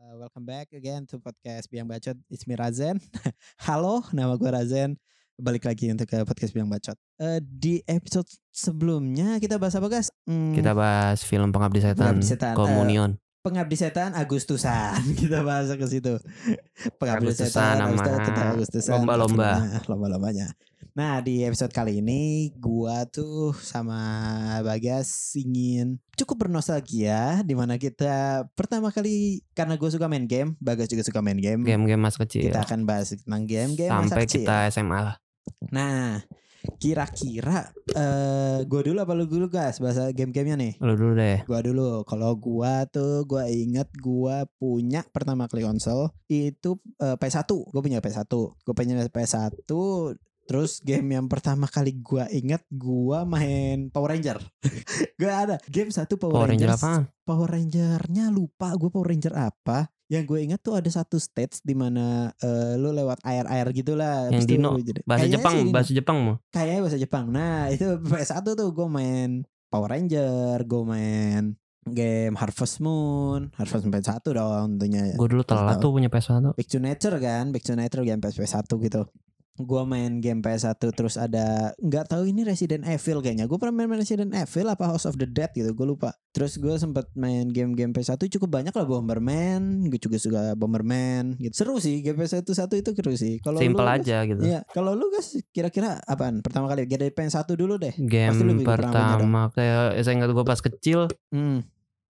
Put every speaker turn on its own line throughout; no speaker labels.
Eh, back again to podcast Biang Bacot. It's me Razen. Halo, nama gue Razen. Balik lagi untuk ke podcast Biang Bacot. Eh, di episode sebelumnya kita bahas apa, guys? Hmm,
Kita bahas film Pengabdi Setan,
Pengabdi Setan, eh,
Komunion.
Pengabdi Setan Agustusan. Kita bahas ke situ. Pengabdi
Agustusan
Setan
sama
Agustusan, tentang Agustusan.
lomba-lomba.
Nah, lomba-lombanya. Nah, di episode kali ini gua tuh sama Bagas ingin cukup bernostalgia di mana kita pertama kali karena gue suka main game, Bagas juga suka main game.
game-game mas kecil.
Kita akan bahas tentang game-game masa
Iya. Sampai
kecil.
kita SMA lah.
Nah, kira-kira eh gua dulu apa lu dulu, Gas? Bahasa game-gamenya nih.
Lu dulu deh.
Gua dulu, kalau gua tuh gua inget gua punya pertama kali konsol itu eh, PS1. Gua punya PS1. Gua punya PS1 Terus game yang pertama kali gua inget gua main Power Ranger. gua ada game satu Power,
Power Ranger
Oh, Rangers.
apaan?
Power Ranger-nya lupa gue Power Ranger apa. Yang gue ingat tuh ada satu stage di mana eh, lu lewat air-air gitulah.
Yang
Habis itu
dino.
lu jadi-
Bahasa
Kayaknya
Jepang,
sih dino.
bahasa Jepang mau.
Kayaknya bahasa Jepang. Nah, itu PS1 tuh gue main Power Ranger, gue main game Harvest Moon, Harvest Moon PS1 dong tentunya.
Gue dulu telat
Tahu.
tuh punya PS1.
Back to Nature kan, Back to Nature game PS1 gitu. Gua main game PS1 terus ada nggak tahu ini Resident Evil kayaknya. Gue pernah main Resident Evil apa House of the Dead gitu, gue lupa. Terus gue sempet main game-game PS1 cukup banyak lah Bomberman, gue juga suka Bomberman gitu. Seru sih game PS1 satu itu seru sih. Kalau lu,
Simple
Gas,
aja gitu.
Iya, kalau lu guys kira-kira apaan? Pertama kali dari PS1 dulu deh. Pasti lu
Game
juga pernah punya dong.
pertama kayak saya ingat gue pas kecil
Hmm.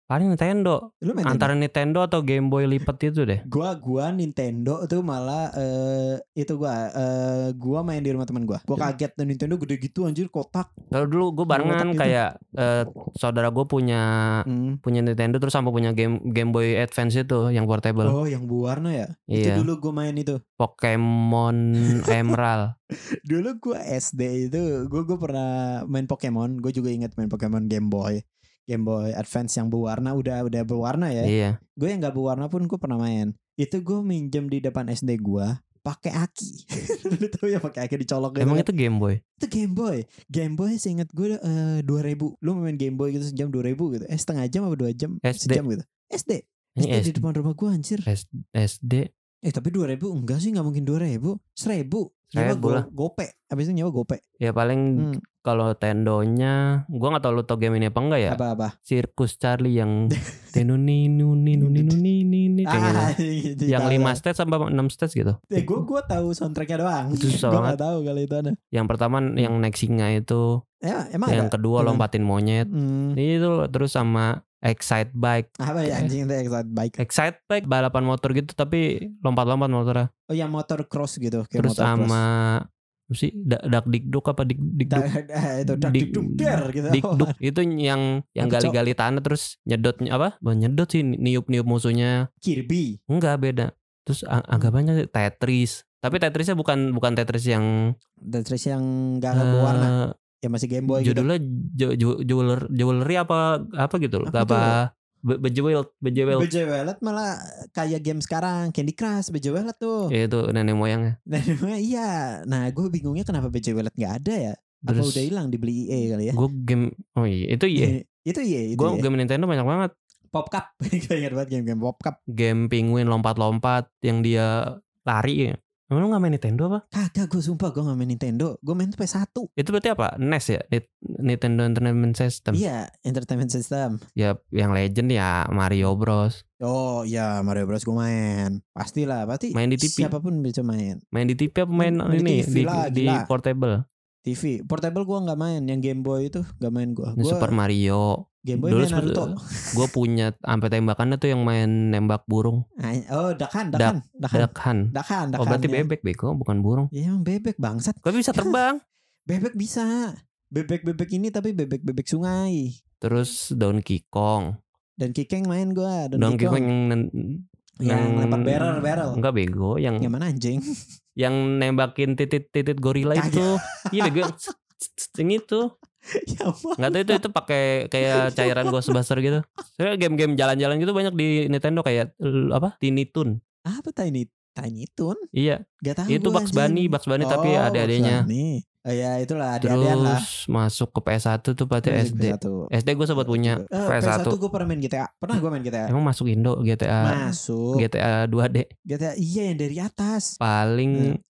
paling Nintendo.
Lu main
Antara Nintendo atau Game Boy lipat itu deh.
Nintendo? gua gua Nintendo tuh malah eh, itu gua eh, gua main di rumah teman gua. Gua kaget dan Nintendo gede gitu anjir kotak.
Kalau dulu gue
Kotak
barengan
gitu.
kayak eh, saudara gue punya
Hmm.
punya Nintendo terus sampai punya game Game Boy Advance itu yang portable.
Oh, yang berwarna ya?
iya.
Itu dulu gua main itu.
Pokemon Emerald.
Dulu gua SD itu gua gua pernah main Pokemon. Gue juga ingat main Pokemon Game Boy. Game Boy Advance yang berwarna udah udah berwarna ya.
Iya.
Gue yang gak berwarna pun gue pernah main. Itu gue minjem di depan SD gua pakai aki. Lu tahu ya pakai aki dicolok gitu.
Emang
kan?
itu Game Boy?
itu Game Boy Game Boy seinget gue dua ribu lu main Game Boy gitu sejam dua ribu gitu eh setengah jam apa dua jam
SD.
sejam gitu SD SD,
Ini
di depan rumah gue anjir
SD
eh tapi dua ribu enggak sih nggak mungkin dua ribu seribu nyawa
Seribu
go-
lah.
gope abis itu nyawa gope
ya paling
hmm,
kalau tendonya gua nggak tahu lu tau game ini apa enggak ya
apa apa
sirkus Charlie yang tenu ninu ninu ninu nini nini
Ah,
kayak gitu. yang lima stage sampai enam stage gitu
iya, eh, gue gue tahu soundtracknya doang
Itu susah
gue nggak tahu kalau itu ada
yang pertama
Hmm.
yang naik singa itu
ya, emang
yang
ada
kedua
Emang.
lompatin monyet Iya,
hmm,
itu terus sama excite bike
apa ya anjing itu excited bike
excite bike balapan motor gitu tapi lompat-lompat motornya
oh yang motor cross gitu kayak
terus
motor cross.
sama apa sih Da- dak dikduk apa dik dikduk
Da- da- eh, itu dak
Dik-
dikduk der gitu
Dikduk itu yang yang
Apa, Cok?
gali-gali tanah terus nyedot apa? Bukan nyedot sih niup-niup musuhnya.
Kirby
Enggak beda. Terus a- anggapannya Tetris. Tapi Tetrisnya bukan bukan Tetris yang
dan terus yang gak ada berwarna
eh,
ya masih Game Boy gitu
judulnya ju- ju- jeweler jewelry apa apa gitu loh.
Apa
Apa be- bejeweled bejeweled.
Bejewelet malah kayak game sekarang Candy Crush Bejewelet tuh
Ya, itu nenek moyangnya.
Nah iya Nah gue bingungnya kenapa Bejewelet gak ada ya Apa
Terus
udah hilang dibeli EA kali ya
gue game oh iya itu iya.
Itu iya itu
Gue
iya.
game Nintendo banyak banget.
Pop Cup Gue ingat banget game-game Pop Cup
Game penguin lompat-lompat yang dia lari. ya. Emang lu gak main Nintendo apa?
Kagak gue sumpah gue gak main Nintendo Gue main PS1
Itu berarti apa? NES ya? Nit- Nintendo Entertainment System.
Iya Entertainment System
Ya yang legend ya Mario Bros.
Oh iya Mario Bros gue main Pastilah pasti
Main di TV.
Siapapun bisa main
Main di TV apa main
Main di
ini
TV
di,
lah,
di
gila.
portable?
TV Portable gue gak main Yang Game Boy itu gak main gue
Ini Super
Gue
Mario.
Game Boy
Dulu
main
sebetulnya-
Naruto
Gue punya sampai tembakannya tuh yang main nembak burung.
Ay- Oh Dakan Dakan Dakan
Dakan.
Dakan Dakan
Oh berarti
ya.
bebek beko bukan burung.
Ya emang bebek bangsat.
Tapi bisa terbang.
Bebek bisa. Bebek-bebek ini tapi bebek-bebek sungai.
Terus Donkey Kong.
Dan Kikeng main gua dan
Donkey Kong yang nen-
yang
Hmm.
lempar barrel barrel.
Enggak bego yang
Yang mana anjing?
yang nembakin titit-titit gorila
Kagak.
itu. Iya bego. Yang itu.
ya ampun.
Nggak tahu itu itu pakai kayak cairan Ghostbuster gitu. Soalnya game-game jalan-jalan gitu banyak di Nintendo kayak l- apa? Tiny Toon.
Apa Tiny Tiny Toon?
Iya,
Gak tahu.
itu
gua,
Bugs
anjing.
Bunny, Bugs Bunny tapi
Ah, Oh,
ada adanya.
Bugs Bunny. Oh, ya itulah adik-adian lah.
Terus masuk ke PS1 tuh berarti
Terus
SD.
PS1.
SD gue sempat punya
Eh, PS1,
PS1.
gue pernah main GTA. Pernah gue main GTA.
Emang masuk Indo GTA
Masuk.
GTA 2D
GTA iya yang dari atas. Hmm.
paling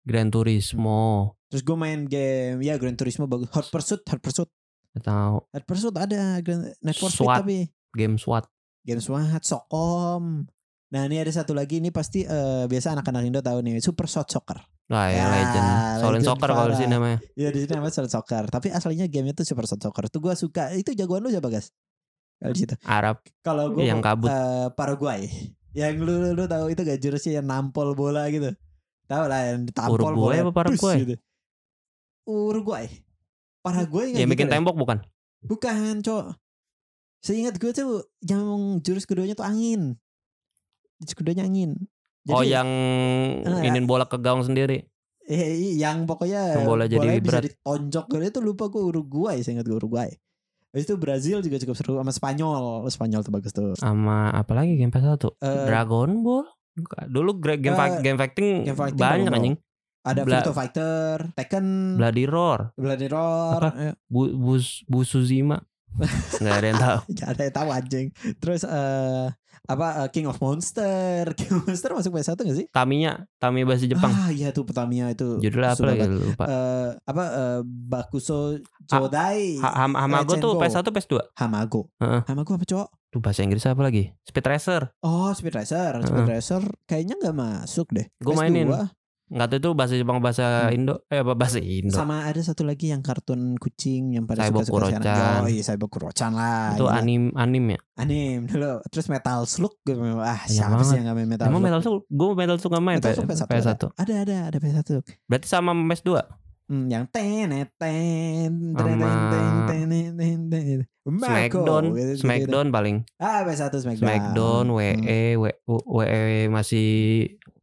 Gran Turismo
Terus gue main game ya Gran Turismo bagus. Hot Pursuit, Hot Pursuit.
atau
Hot Pursuit ada Gran Need for Speed
SWAT.
tapi
game SWAT.
game SWAT, Sokom. Nah, ini ada satu lagi ini pasti eh, biasa anak-anak Indo tahu nih, Super Shot Soccer.
Lah ya,
Ya,
legend. Solid
legend
soccer kalau di sini
parah.
namanya.
Iya di sini namanya Shot Soccer, tapi aslinya gamenya tuh Super Shot Soccer. Tuh gue suka. Itu jagoan lu siapa, Gas? Kalau di situ.
Arab
Kalau gue
yang kabut.
eh, Paraguay. Yang lu lu, lu tahu itu gak jurusnya yang nampol bola gitu. Tahu lah yang ditampol bola.
Uruguay apa Paraguay?
dus gitu. Uruguay. Paraguay nggak gitu
yang Ya, bikin
deh.
tembok bukan?
Bukan, Cok. Seingat gue tuh yang jurus keduanya tuh angin. Jurus keduanya angin.
oh yang
Eh,
ingin bola ke gawang sendiri.
eh, i- yang pokoknya
Yang bola jadi
bolanya bisa
berat.
ditonjok gue itu lupa gue Uruguay, seingat gue Uruguay. Habis itu Brazil juga cukup seru sama Spanyol. Spanyol tuh bagus tuh.
Sama apa lagi game PS1?
Eh,
Dragon Ball. Dulu gra- game,
eh,
fight- game fighting
game fighting
banyak
Dragon Ball. Hmm.
anjing.
ada
Bla-
Virtua Fighter, Tekken,
Bloody Roar,
Bloody Roar,
Apa?
eh,
Bu, Bus, Busuzima. Nggak ada yang tahu.
Gak ya, ada yang tahu anjing. Terus eh apa eh, King of Monster, King of Monster masuk PS1 gak sih?
Tamiya, Tamiya bahasa Jepang.
Ah iya tuh Pertamina itu.
Judulnya apa
sudah
lagi
banget.
lupa.
Eh, apa eh, Bakuso Jodai
Ha- Ham-
Eh,
Hamago
Legend
tuh
Go.
PS1 PS2.
Hamago.
Heeh.
Hamago apa cowok?
Tuh bahasa Inggris apa lagi? Speed Racer.
Oh Speed Racer, Speed Racer kayaknya nggak masuk deh.
Gua
PS2.
mainin. Enggak tahu itu bahasa Jepang bahasa
Hmm.
Indo eh apa bahasa Indo.
Sama ada satu lagi yang kartun kucing yang pada
Cyborg
suka-suka
Kurochan.
sekarang. Yoi, Cyborg Kurochan lah.
itu
gila.
anim anim ya.
Anim dulu. Terus Metal Slug gue memang ah
Iya
siapa sih
banget.
yang gak main Metal
Emang
Slug?
Metal Slug, gue Metal Slug gak main
Metal Slug ya?
PS1.
PS1 Ada ada ada PS1.
Berarti sama sama PS2.
Hmm, yang tenet ten ten
Sama
ten ten ten ten ten gitu. Marco,
Smackdown,
gitu, gitu, gitu.
Smackdown paling.
Ah, PS1 Smackdown.
Smackdown,
Hmm.
WE, W- W- WE masih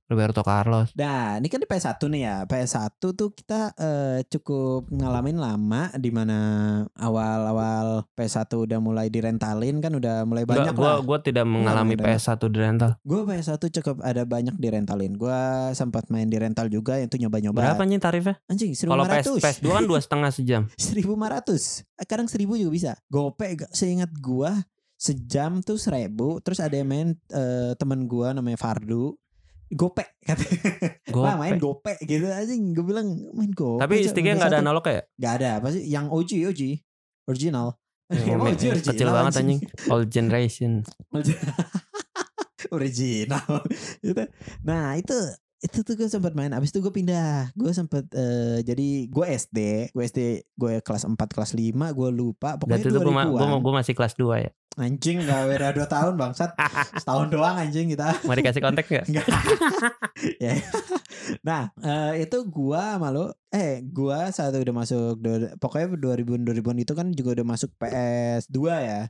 Roberto Carlos.
Nah, ini kan di PS1 nih ya. PS1 tuh kita eh, cukup ngalamin lama di mana awal-awal PS1 udah mulai direntalin kan udah mulai banyak
Enggak, gua
lah.
gua tidak mengalami
ada.
PS1 di rental.
Gue PS1 cukup ada banyak direntalin. Gue sempat main di rental juga itu nyoba-nyoba.
Berapa nih tarifnya?
Anjing, 1500.
Kalau PS PS2 kan dua setengah sejam.
1500 kadang 1000 juga bisa gope gak- seingat gua sejam tuh 1000 terus ada yang main eh, temen gua namanya Fardu gope katanya
Gua
Wah, main gope gitu aja gue bilang main gope
Tapi sticknya nggak ada analog ya?
nggak ada pasti yang OG OG original Emang OG original
Oh, Kecil banget anjing. Old generation.
original gitu. Nah itu itu tuh gue sempat main abis itu gue pindah gue sempat eh, jadi gue SD gue SD gue kelas 4 kelas 5 gue lupa
Dan
pokoknya
itu gua, ma-
2000-an
gua, gua masih kelas 2 ya.
anjing gak beda 2 tahun bangsat setahun doang anjing kita
Mau dikasih konteks nggak?
Nggak. Ya. nah eh, itu gua malu eh gua saat udah masuk do- pokoknya 2000 2000 itu kan juga udah masuk PS2 ya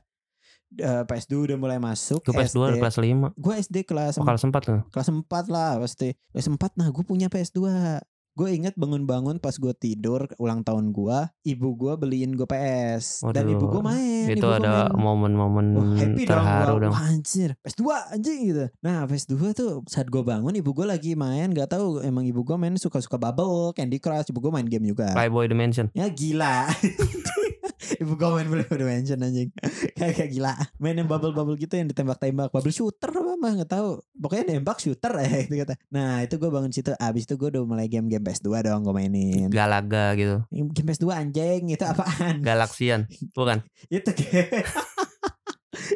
Eh, PS2 udah mulai masuk
Gua
SD.
PS2 kelas 5.
gua SD kelas
Oh, kelas 4 loh.
kelas 4 lah pasti kelas 4 nah gue punya PS2 gue inget bangun-bangun pas gue tidur ulang tahun gua ibu gua beliin gue PS dan
Waduh,
ibu gue main ibu
itu
gua
ada
main.
momen-momen
Wah, happy dong
Hmm, terharu
gua.
dong.
Wah, anjir PS2 anjing gitu nah PS2 tuh saat gue bangun ibu gue lagi main gak tahu emang ibu gue main suka-suka bubble Candy Crush ibu gue main game juga
Playboy Dimension.
ya gila ibu gue main beli dimension anjing kayak kayak gila main yang bubble bubble gitu yang ditembak-tembak bubble shooter apa mah nggak tahu pokoknya nembak shooter ya gitu kata nah itu gue bangun situ abis itu gue udah mulai game game PS2 dong gue mainin
Galaga gitu.
game PS2 anjing itu apaan
Iya. Galaxian. Bukan.
itu game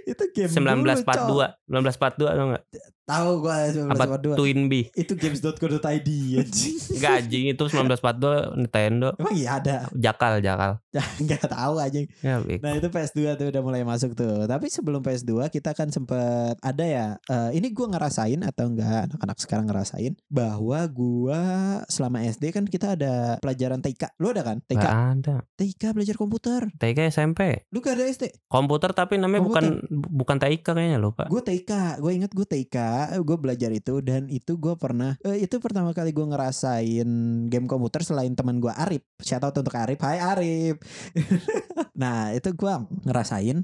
itu game dulu,
1942.
Cok.
1942 atau enggak?
tahu gue
Apa
1942
Twin B?
itu games.co.id anjing
Enggak anjing itu 1942 Nintendo.
emang iya ada
Jakal, jakal.
nggak tahu anjing
Ya, baik.
Nah itu PS2 tuh udah mulai masuk tuh. Tapi sebelum PS2 kita kan sempet ada ya. eh, ini gua ngerasain atau enggak anak-anak sekarang ngerasain bahwa gua selama SD kan kita ada pelajaran TK. Lu ada kan?
Enggak
TK.
ada.
TK belajar komputer.
TK SMP.
Lu gak ada SD?
Komputer tapi namanya
Komputer.
bukan bukan TIK kayaknya loh, Pak.
Gue TK. Gue inget gue TK. Gue eh, belajar itu dan itu gua pernah. eh, itu pertama kali gua ngerasain game komputer selain teman gua Arif. Shout out untuk Arif. Hai Arif. nah itu gua ngerasain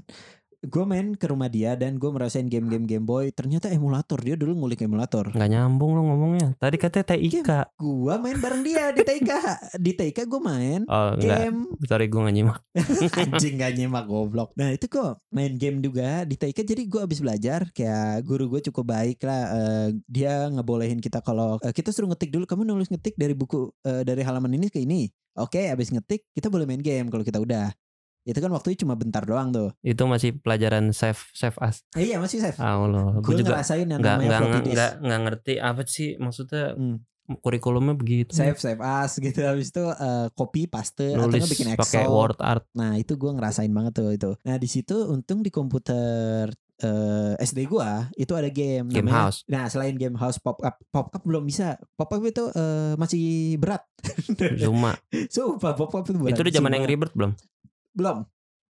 gue main ke rumah dia dan gue merasain game-game Game Boy ternyata emulator dia dulu ngulik emulator
Nggak nyambung lo ngomongnya. Tadi katanya TIK.
Iya. gue main bareng dia di TK di TK gue main
Oh enggak.
game
Sorry gue gak nyimak.
anjing gak nyemak goblok nah itu kok main game juga di TK jadi gue abis belajar kayak guru gue cukup baik lah eh, dia ngebolehin kita kalau eh, kita suruh ngetik dulu kamu nulis ngetik dari buku eh, dari halaman ini ke ini oke abis ngetik kita boleh main game kalau kita udah itu kan waktunya cuma bentar doang tuh
Itu masih pelajaran save save as.
Eh, iya masih safe
Ah Allah.
gue
Gue juga
ngerasain yang
nggak
namanya
nggak
floppy disk
nggak nggak ngerti apa sih maksudnya
Hmm.
kurikulumnya begitu.
save save as gitu habis itu eh, copy paste atau
nulis
nggak bikin
pakai
Excel
word art
Nah itu gue ngerasain banget tuh itu. Nah di situ untung di komputer eh, SD gua itu ada game.
Game
namanya-
house.
Nah selain game house pop up, pop up belum bisa. Pop up itu eh, masih berat.
Zuma.
Sumpah pop up itu berat.
itu di zaman
Sumpah.
Angry Bird belum?
Belum.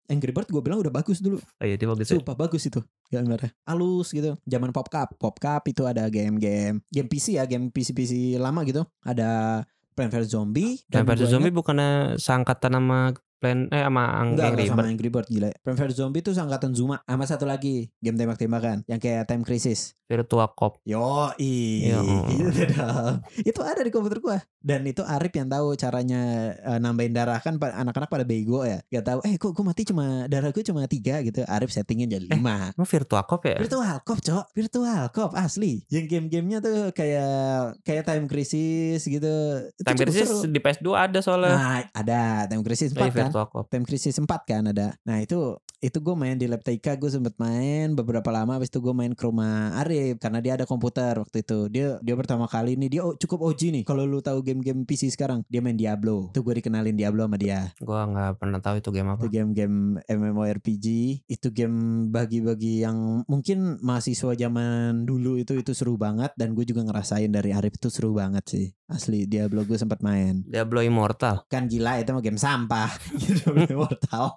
Angry Bird gue bilang udah bagus dulu.
Oh iya dia waktu itu.
Sumpah bagus itu gambarnya. Halus gitu. Zaman pop cup, pop cup itu ada game-game, game PC ya, game PC PC lama gitu. Ada Plan vs Zombie.
Dan
gua
versus
ingat-
zombie bukannya seangkatan sama plan eh sama Angry
Enggak, enggak
Bird.
sama Angry Bird gila. Plan vs Zombie itu seangkatan Zuma sama satu lagi game tembak-tembakan yang kayak Time Crisis.
Virtua Cop.
Yo,
Yo.
gitu dong. Itu ada di komputer gua. Dan itu Arif yang tahu caranya eh, nambahin darah kan pa- anak-anak pada bego ya. Gak tahu, eh kok gua mati cuma darah gua cuma tiga gitu. Arif settingin jadi lima.
Emang Virtua Cop ya?
Virtual Cop, Cok. Virtual Cop asli. Yang game-gamenya tuh kayak kayak Time Crisis gitu. Itu
Time
cukup
Crisis Iya,
seru.
di PS2 ada soalnya.
Nah, ada Time Crisis 4
Tapi
kan.
Virtua Cop.
Time Crisis 4 kan ada. Nah itu itu gue main di lab TK gue sempet main beberapa lama habis itu gue main ke rumah Arif karena dia ada komputer waktu itu dia dia pertama kali nih dia o- cukup OG nih kalau lu tahu game-game PC sekarang dia main Diablo itu gue dikenalin Diablo sama dia
Gua nggak pernah tahu itu game apa.
itu game-game MMORPG itu game bagi-bagi yang mungkin mahasiswa zaman dulu itu itu seru banget dan gue juga ngerasain dari Arif itu seru banget sih asli Diablo gue sempat main
Diablo Immortal.
kan gila itu mah game sampah gitu game wortel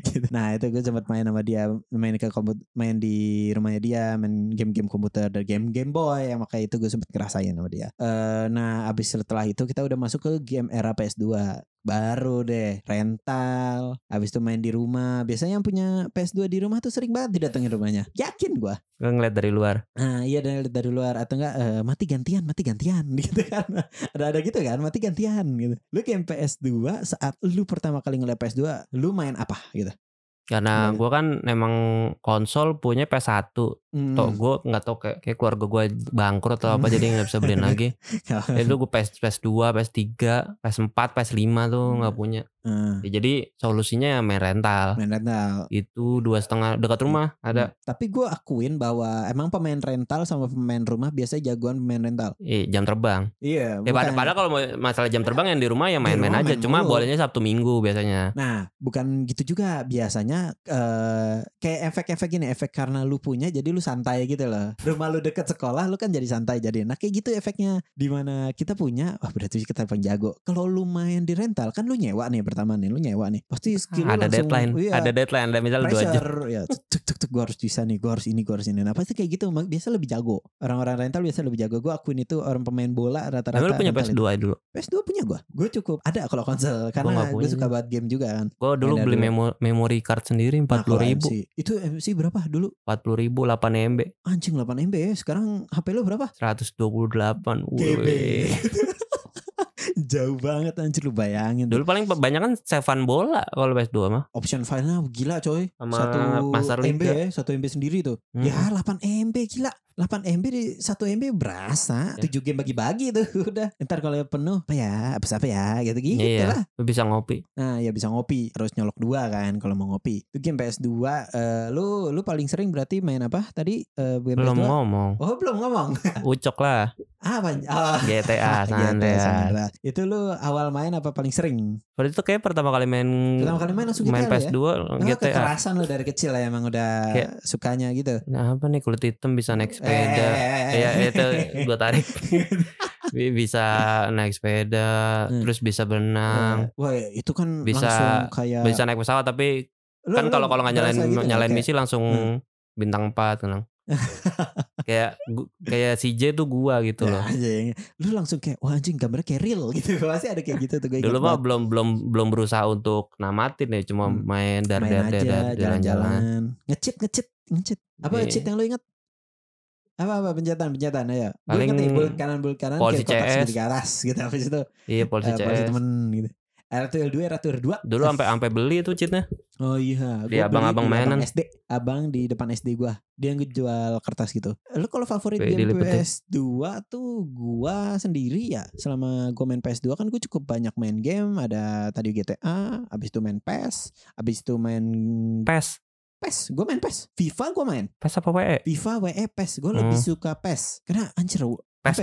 gitu. nah itu gue sempat main sama dia main ke komput main di rumahnya dia main game-game komputer dan game Game Boy yang makanya itu gue sempat ngerasain sama dia Eh, nah abis setelah itu kita udah masuk ke game era PS2 baru deh rental abis itu main di rumah biasanya yang punya PS2 di rumah tuh sering banget didatengin rumahnya yakin gua
Gue ngeliat dari luar.
Nah, iya dari dari luar atau enggak eh, mati gantian, mati gantian gitu kan. Ada ada gitu kan, mati gantian gitu. Lu game PS2 saat lu pertama kali ngeliat PS2, lu main apa gitu. Iya.
Karena gua kan memang konsol punya PS1.
Hmm.
Tok gue nggak tau kayak, kayak keluarga gue bangkrut atau apa jadi nggak bisa beliin lagi. Itu gue PS PS2, PS3, PS4, PS5 tuh
Hmm.
nggak
Eh,
punya. Ya, jadi solusinya ya main rental.
main rental.
Itu dua setengah dekat rumah
Hmm.
ada.
Tapi gue akuin bahwa emang pemain rental sama pemain rumah biasanya jagoan pemain rental.
Eh, jam terbang.
Iya,
Ya pada
bukan.
padahal kalau mau- masalah jam terbang yang di rumah
Di
ya main-main
rumah
aja.
main
Cuma
mulu.
bolehnya Sabtu Minggu biasanya.
Nah, bukan gitu juga biasanya eh kayak efek-efek gini, efek karena lu punya jadi lu santai gitu loh. Rumah lu deket sekolah, lu kan jadi santai jadi. Nah, kayak gitu efeknya dimana kita punya, wah berarti kita penjago. Kalau lu main di rental kan lu nyewa nih pertama nih, lu nyewa nih. Pasti skill lu
Ah, ada
langsung-
deadline,
iya,
ada deadline, ada misal dua jam.
pressure ya tuk tuk tuk gue harus bisa nih gue harus ini gue harus ini nah pasti kayak gitu mak- biasa lebih jago orang-orang rental biasa lebih jago gue akuin itu orang pemain bola rata-rata gitu.
Tapi lu punya
rental
PS2
itu.
dulu.
PS2 punya gue gue cukup ada kalau konsol karena
nggak
gue
punya iya.
suka banget game juga kan
Gue dulu
Ada
beli
dulu.
memo- memory card sendiri
Nah,
40
kalau
ribu,
MC. Itu MC berapa dulu?
40 ribu 8 MB,
Anjing 8 MB ya. Sekarang HP lu berapa?
128. Wih.
Jauh banget anjir lu bayangin.
Dulu paling banyak kan seven bola kalau PS2 mah.
Option file-nya gila coy.
Sama
satu
Master
MB
Liga.
ya. Satu MB sendiri tuh.
Hmm.
Ya 8 MB gila. 8 MB di 1 MB berasa.
Ya.
7 game bagi-bagi tuh udah. Ntar kalau penuh apa ya? Apa apa ya? Gitu-gitu
Iya.
lah.
Lu bisa ngopi.
Nah ya bisa ngopi. Harus nyolok dua kan kalau mau ngopi. Itu game PS2. eh, lu lu paling sering berarti main apa tadi? Eh, game
Belum
PS2?
ngomong.
Oh belum ngomong.
Ucok lah.
Apa? Ah,
GTA
Iya,
San
Andreas,
Andreas.
Andreas. Itu lu awal main apa paling sering?
Berarti itu kayak pertama kali main
Pertama kali main langsung
main
GTA lu ya?
PS2
Emang
GTA.
kekerasan lu dari kecil ya emang udah
Gitu, ah. Kayak-
sukanya gitu.
Nah, apa nih kulit hitam bisa
Eh,
naik sepeda. Ya itu gua tarik. Bi- bisa naik sepeda,
Hmm.
terus bisa berenang,
Wah, itu kan
Bisa-
langsung kayak
bisa naik pesawat tapi
Lu- lu
kan
gitu
kalau kalau nggak nyalain
berasa gitu nggak?
nyalain
Kayak-
misi langsung
Hmm.
bintang 4 tenang. kan. kayak gu- kayak CJ tuh gua gitu
Ya,
loh
anjing. lu langsung kayak wah anjing gambarnya kayak real gitu pasti ada kayak gitu tuh gue ingat
dulu mah
banget.
belum belum belum berusaha untuk namatin ya cuma
Hmm.
main dar
main
dar dar
aja
dar- jalan-jalan
jalan-jalan ngecit ngecit ngecit apa
Iya.
ngecit yang lu inget apa apa pencetan pencetan ayo gue
Paling
inget nih bulat kanan bulat kanan
polisi
kiri kotak
CS.
segitiga garas gitu habis itu
iya polisi
eh, polisi
CS
temen Eh. gitu RTL 2 RTL 2
dulu sampai sampai beli tuh cheatnya
Oh iya, gua
Di
beli
abang-abang
di
mainan.
abang SD, abang di depan SD gua. Dia ngejual kertas gitu. Lu kalau favorit
Wih,
game
dilipetin.
PS2 tuh gua sendiri ya. Selama gua main PS2 kan gua cukup banyak main game, ada tadi GTA, abis itu main PES, abis itu main
pes
PES. Gua main PES. FIFA gua main.
pes E apa WE
FIFA WE PES. Gua
Hmm.
lebih suka PES. Karena anjir.
pes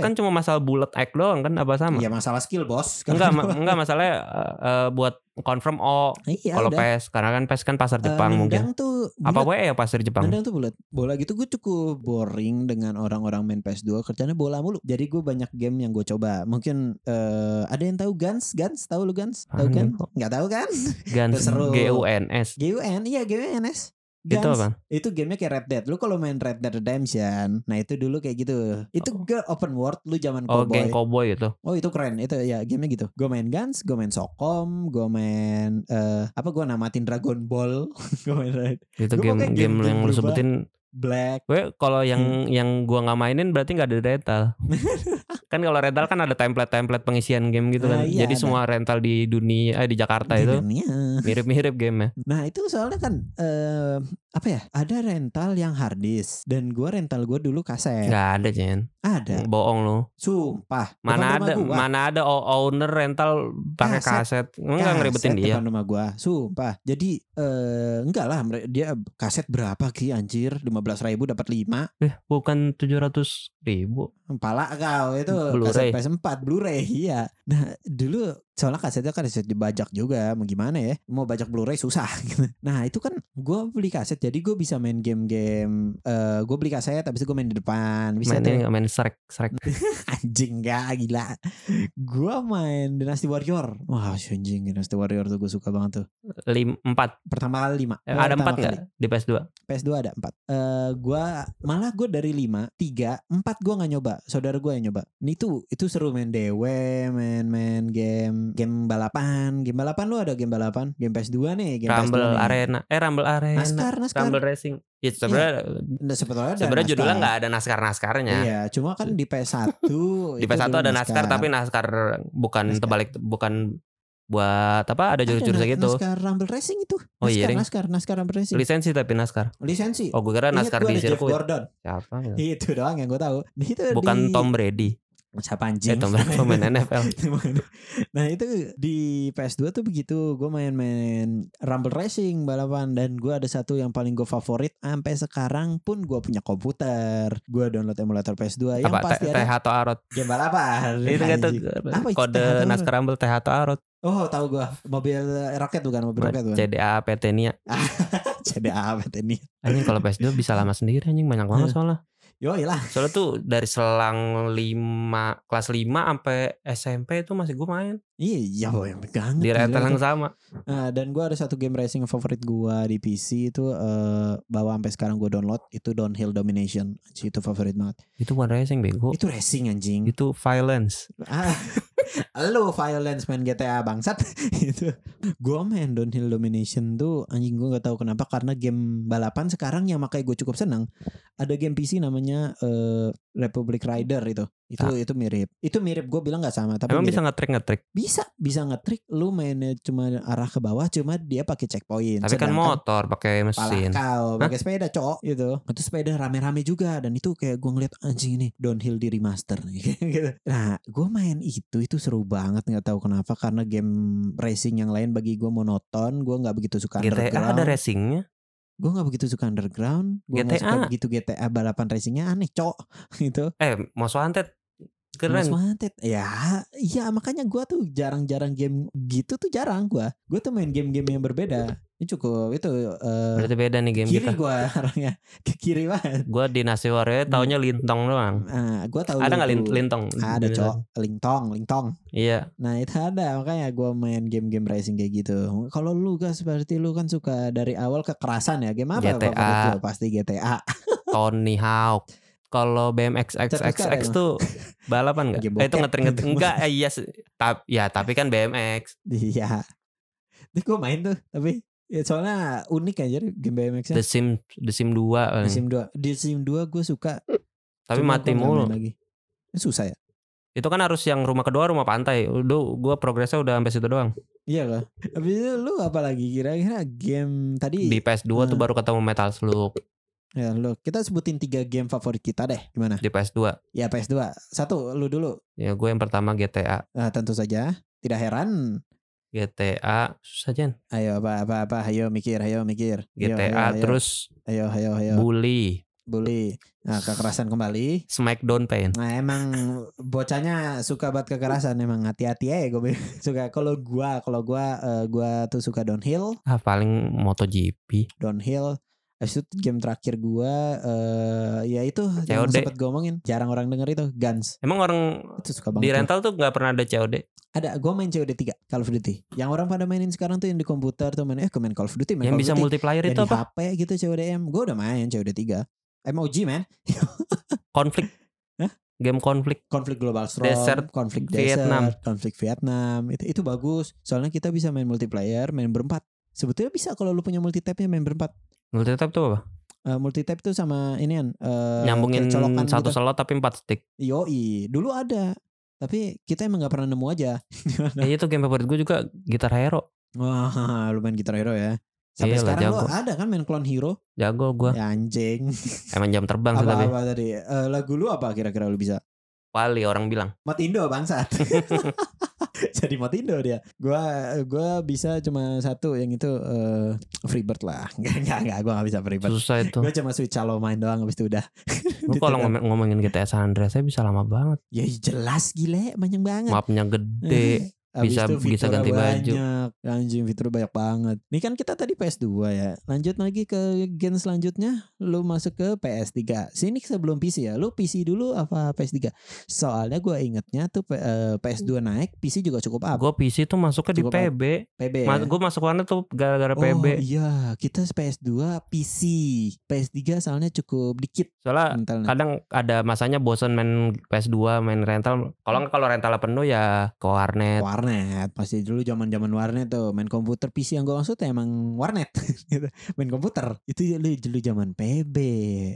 Apa ya?
kan cuma masalah bullet egg doang kan apa sama
Ya masalah skill, Bos.
enggak ma- enggak masalahnya eh, eh, buat confirm oh
Iya,
kalau
udah.
pes karena kan pes kan pasar
Eh,
Jepang mungkin
nendang tuh
apa
bulat.
WE ya pasar Jepang
Nendang tuh bulat. Bola gitu gue cukup boring dengan orang-orang main PS2 kerjanya bola mulu. Jadi gue banyak game yang gue coba. Mungkin eh, ada yang tahu Guns? Guns? Tahu lu Guns? Tahu
Apaan
kan?
itu?
Nggak tahu kan?
Guns
Seru.
G U N S
GUN, iya GUNS. Guns.
itu apa
Itu gamenya kayak Red Dead. Lu kalau main Red Dead Redemption, nah itu dulu kayak gitu. Itu
Oh.
ke open world lu zaman
oh
cowboy.
geng cowboy itu
Oh itu keren itu ya gamenya gitu. Gue main Guns, gue main Sokom, gue main eh, apa gue namatin Dragon Ball, gue main Red
itu
Gua
game
pokoknya
game,
game-game
yang lu
berubah. Hmm.
sebutin
Black.
gue kalau yang yang gua nggak mainin berarti nggak ada rental kan kalau rental kan ada template template pengisian game gitu kan
Ah, iya,
jadi
ada.
semua rental di dunia eh, di Jakarta
Di
itu ya.
dunia.
mirip mirip gamenya
Nah itu soalnya kan eh apa ya ada rental yang hard disk dan gua rental gua dulu kaset
nggak ada Jen
Iya. ada
bohong lu
sumpah Depan
Hmm. mana
rumah
ada
gua.
mana ada o- owner rental pakai kaset
Kaset.
enggak ngeribetin
Kaset
dia
depan rumah gua sumpah jadi eh enggak lah mere- dia kaset berapa ki anjir 15.000 ribu dapat 5
eh, bukan tujuh ratus ribu
pala kau itu
Hmm, Blu-ray.
kaset PS4 Blu-ray iya nah dulu soalnya kasetnya kan kaset dibajak juga mau gimana ya mau bajak Blu-ray susah gitu. nah itu kan gua beli kaset jadi gua bisa main game-game eh gua beli kaset habis itu gua main di depan bisa tuh.
mainin nggak main Shrek Shrek
anjing gak gila gua main Dynasty Warrior wah anjing Dynasty Warrior tuh gue suka banget tuh
lim empat
pertama kali 5
Eh, ada empat nggak di PS 2
PS2 ada 4 gua malah gue dari 5 3 4 gua nggak nyoba saudara gue yang nyoba ini tuh itu seru main DW main main game game balapan game balapan lu ada game balapan game PS2 nih game
Rumble
PS2 nih.
Arena eh Rumble Arena
NASCAR NASCAR
Rumble Racing ya sebenarnya
Nah, sebetulnya ada
sebenarnya
NASCAR.
judulnya nggak ada naskar naskarnya
iya cuma kan di PS1
di
itu
PS 1
dulu
ada naskar tapi naskar bukan
NASCAR.
terbalik bukan buat apa ada
Ada
jurus-jurus gitu
NASCAR Rumble Racing itu.
Oh iya, Ring.
NASCAR, NASCAR Rumble Racing.
lisensi tapi naskar
Lisensi.
oh gue kira
Ingat
naskar
iya, gua
di
ada Jeff
sirkuit
Gordon.
siapa ya?
Itu doang yang gue tahu. Itu
bukan
di...
Tom Brady
Siapa
eh,
anjing?
Tom Brady pemain NFL
nah itu di PS2 tuh begitu gue main-main Rumble Racing balapan dan gue ada satu yang paling gue favorit sampai sekarang pun gue punya komputer gue download emulator PS2 yang
apa T-
pasti
TH
ada
atau Arot
game balapan
itu nggak tuh
Anjing. Apa itu
kode
TH atau Arot?
naskar Rumble TH atau Arot
oh tahu gue mobil roket bukan mobil roket bukan
CDA PT Nia
CDA apa ini
anjing kalau PS2 bisa lama sendiri anjing banyak
Iya.
banget soalnya
yo iyalah
soalnya tuh dari selang 5 kelas 5 sampai SMP itu masih gue main
Iya, boy, yang pegang.
di rental yang sama
Nah, dan gua ada satu game racing favorit gua di PC itu eh bawa sampai sekarang gua download itu Downhill Domination. Anjing, itu favorit banget.
itu bukan racing bego
Itu racing anjing.
itu violence
Ah, lu violence main GTA bangsat itu. Gua main Downhill Domination tuh anjing gua nggak tahu kenapa karena game balapan sekarang yang makanya gue cukup senang. Ada game PC namanya eh, Republic Rider itu. Itu
Ah.
itu mirip. Itu mirip gue bilang nggak sama tapi
emang
mirip.
bisa nge-trick nge-trick
bisa bisa ngetrik lu mainnya cuma arah ke bawah cuma dia pakai checkpoint
tapi kan motor
pala
pakai mesin
kau pakai sepeda cok gitu itu sepeda rame-rame juga dan itu kayak gua ngeliat anjing ini downhill di remaster nih gitu. nah gua main itu itu seru banget nggak tahu kenapa karena game racing yang lain bagi gua monoton gua nggak begitu suka
GTA Gitu. Eh, ada
underground
racingnya
gua nggak begitu suka underground gua nggak suka
GTA.
begitu GTA balapan racingnya aneh cok gitu
eh Most
Most
Wanted keren
Wanted. Ya, iya makanya gua tuh jarang-jarang game gitu tuh jarang gua. Gua tuh main game-game yang berbeda. Ini cukup itu eh,
berarti beda nih game
kiri
kita
gua orangnya ke kiri banget.
gue di Nasi Warrior taunya lintong doang
Nah, gua tahu
Hmm. ada
lu
nggak lin-
tuh. Nah,
lintong Gitu.
Ada cok, lingtong, lingtong.
iya
Nah itu ada makanya gua main game-game racing kayak gitu. Kalau lu gak seperti lu kan suka dari awal kekerasan ya game apa?
GTA.
favorit lu? Pasti GTA.
Tony Hawk kalau BMX
Cat-cat
XXX
emang.
tuh balapan nggak?
Game
Eh, itu
bokep.
ngetring-ngetring enggak? eh, Iya, se- tap, ya tapi kan BMX.
Iya. Tapi gue main tuh, tapi ya soalnya unik aja game BMX-nya.
The Sim The Sim 2
Di
paling.
Iya. Sim 2. Di Sim 2 gue suka.
tapi
cuma gua
mati
nggak
mulu.
main Lagi. Ini Susah ya?
Itu kan harus yang rumah kedua rumah pantai. Udah gua progresnya udah sampai situ doang.
Iya lah. Habis itu lu apa lagi kira-kira game tadi?
Di PS2 tuh
Hmm.
baru ketemu Metal Slug
Ya lu, kita sebutin tiga game favorit kita deh. Gimana?
di PS2.
Ya PS2. Satu lu dulu.
Ya gue yang pertama GTA.
Nah, tentu saja. Tidak heran.
GTA susah Jen.
Ayo apa apa apa. Ayo mikir, ayo mikir. Ayo,
GTA
ayo, ayo.
terus
Ayo ayo ayo.
Bully,
Bully. Nah, kekerasan kembali.
Smackdown Pain.
Nah emang bocahnya suka buat kekerasan emang hati-hati ya gue bilang. suka kalau gua kalau gua eh, gua tuh suka downhill
Ah paling MotoGP.
downhill Habis itu game terakhir gua eh ya itu yang
COD.
sempat gue omongin jarang orang denger itu Guns
Emang orang
itu suka
di
banget
rental tuh nggak pernah ada COD.
ada gua main COD 3 Call of Duty yang orang pada mainin sekarang tuh yang di komputer tuh main eh gua main Call of Duty main
yang
Call of
bisa
Duty
multiplayer
Yang
itu
di
apa?
HP gitu CODM gua udah main COD 3 MOG man
Konflik.
Hah?
Game konflik.
konflik global storm,
Desert
konflik
Vietnam.
desert, konflik Vietnam. Itu itu bagus. Soalnya kita bisa main multiplayer, main berempat. Sebetulnya bisa kalau lu punya multitapnya main berempat.
Multitap tuh apa?
Eh multitap tuh sama inian eh,
Nyambungin
kayak colokan
satu
gitu.
slot tapi empat stick.
Yoi, dulu ada. Tapi kita emang gak pernah nemu aja. Nah.
Ya itu game favorit gue juga Gitar Hero.
Wah, lu main Guitar Hero ya. Sampai
Iyalah,
sekarang lu
Iya, jago.
ada kan main Clone Hero?
Jago gue.
Ya anjing.
Emang jam terbang sih tapi.
Apa-apa tadi? Eh, lagu lu apa kira-kira lu bisa?
Wali orang bilang.
Matindo bangsat. Jadi Matindo dia. Gua gua bisa cuma satu yang itu eh, Freebird lah. Enggak enggak enggak gua enggak bisa Freebird.
Susah itu.
Gua cuma switch Halo main doang habis itu udah.
Gue
Ditekan.
kalau ngomong- ngomongin GTA San Andreas saya bisa lama banget.
ya jelas gile banyak banget. Eh,
Mapnya gede.
Habis
bisa-
itu
bisa
fiturnya
ganti baju.
banyak. Anjing fitur banyak banget. Ini kan kita tadi PS2 ya. Lanjut lagi ke gen selanjutnya lu masuk ke PS3. Sini sebelum PC ya. Lu PC dulu apa PS3? Soalnya gua ingetnya tuh P- eh, PS2 naik, PC juga cukup up.
Gue PC tuh masuknya di
Cukup
PB.
PB ya.
Gue masuk warnet tuh gara-gara PB.
Oh iya, kita PS2 PC. PS3 soalnya cukup dikit
Soalnya
rentalnya.
kadang ada masanya bosen main PS2 main rental kalau nggak kalau rentalnya penuh ya ke warnet
Warnet, pasti dulu zaman-zaman warnet tuh main komputer PC yang gue maksud emang warnet gitu. Main komputer. Itu dulu dulu zaman PB,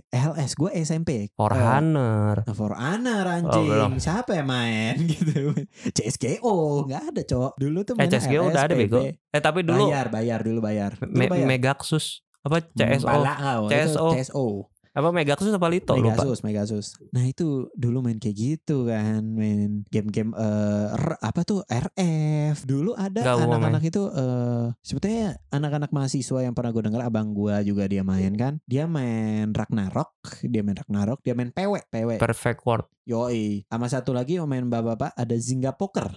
LS gue SMP.
for
Eh,
Hunter
Nah, For Honor
Oh,
anjing
belum.
Siapa yang main gitu CSGO Gak ada cok Dulu tuh
eh
mainnya
CSGO
LS,
udah ada
PB.
bego eh tapi dulu
Bayar bayar dulu bayar Dulu
Me-
bayar.
Megaxus apa
Hmm,
CSO
Pala kau, itu
CSO.
CSO
apa Megaxus apa Lito lupa
Megasus, Megasus. Nah itu dulu main kayak gitu kan, main game-game eh, R- apa tuh RF. Dulu ada
Nggak, gua
anak-anak itu eh sebetulnya anak-anak mahasiswa yang pernah gue dengar abang gua juga dia main kan. Dia main Ragnarok, dia main Ragnarok, dia main PW, PW.
Perfect World
Yoi. Sama satu lagi yang main bapak-bapak ada Zynga Poker.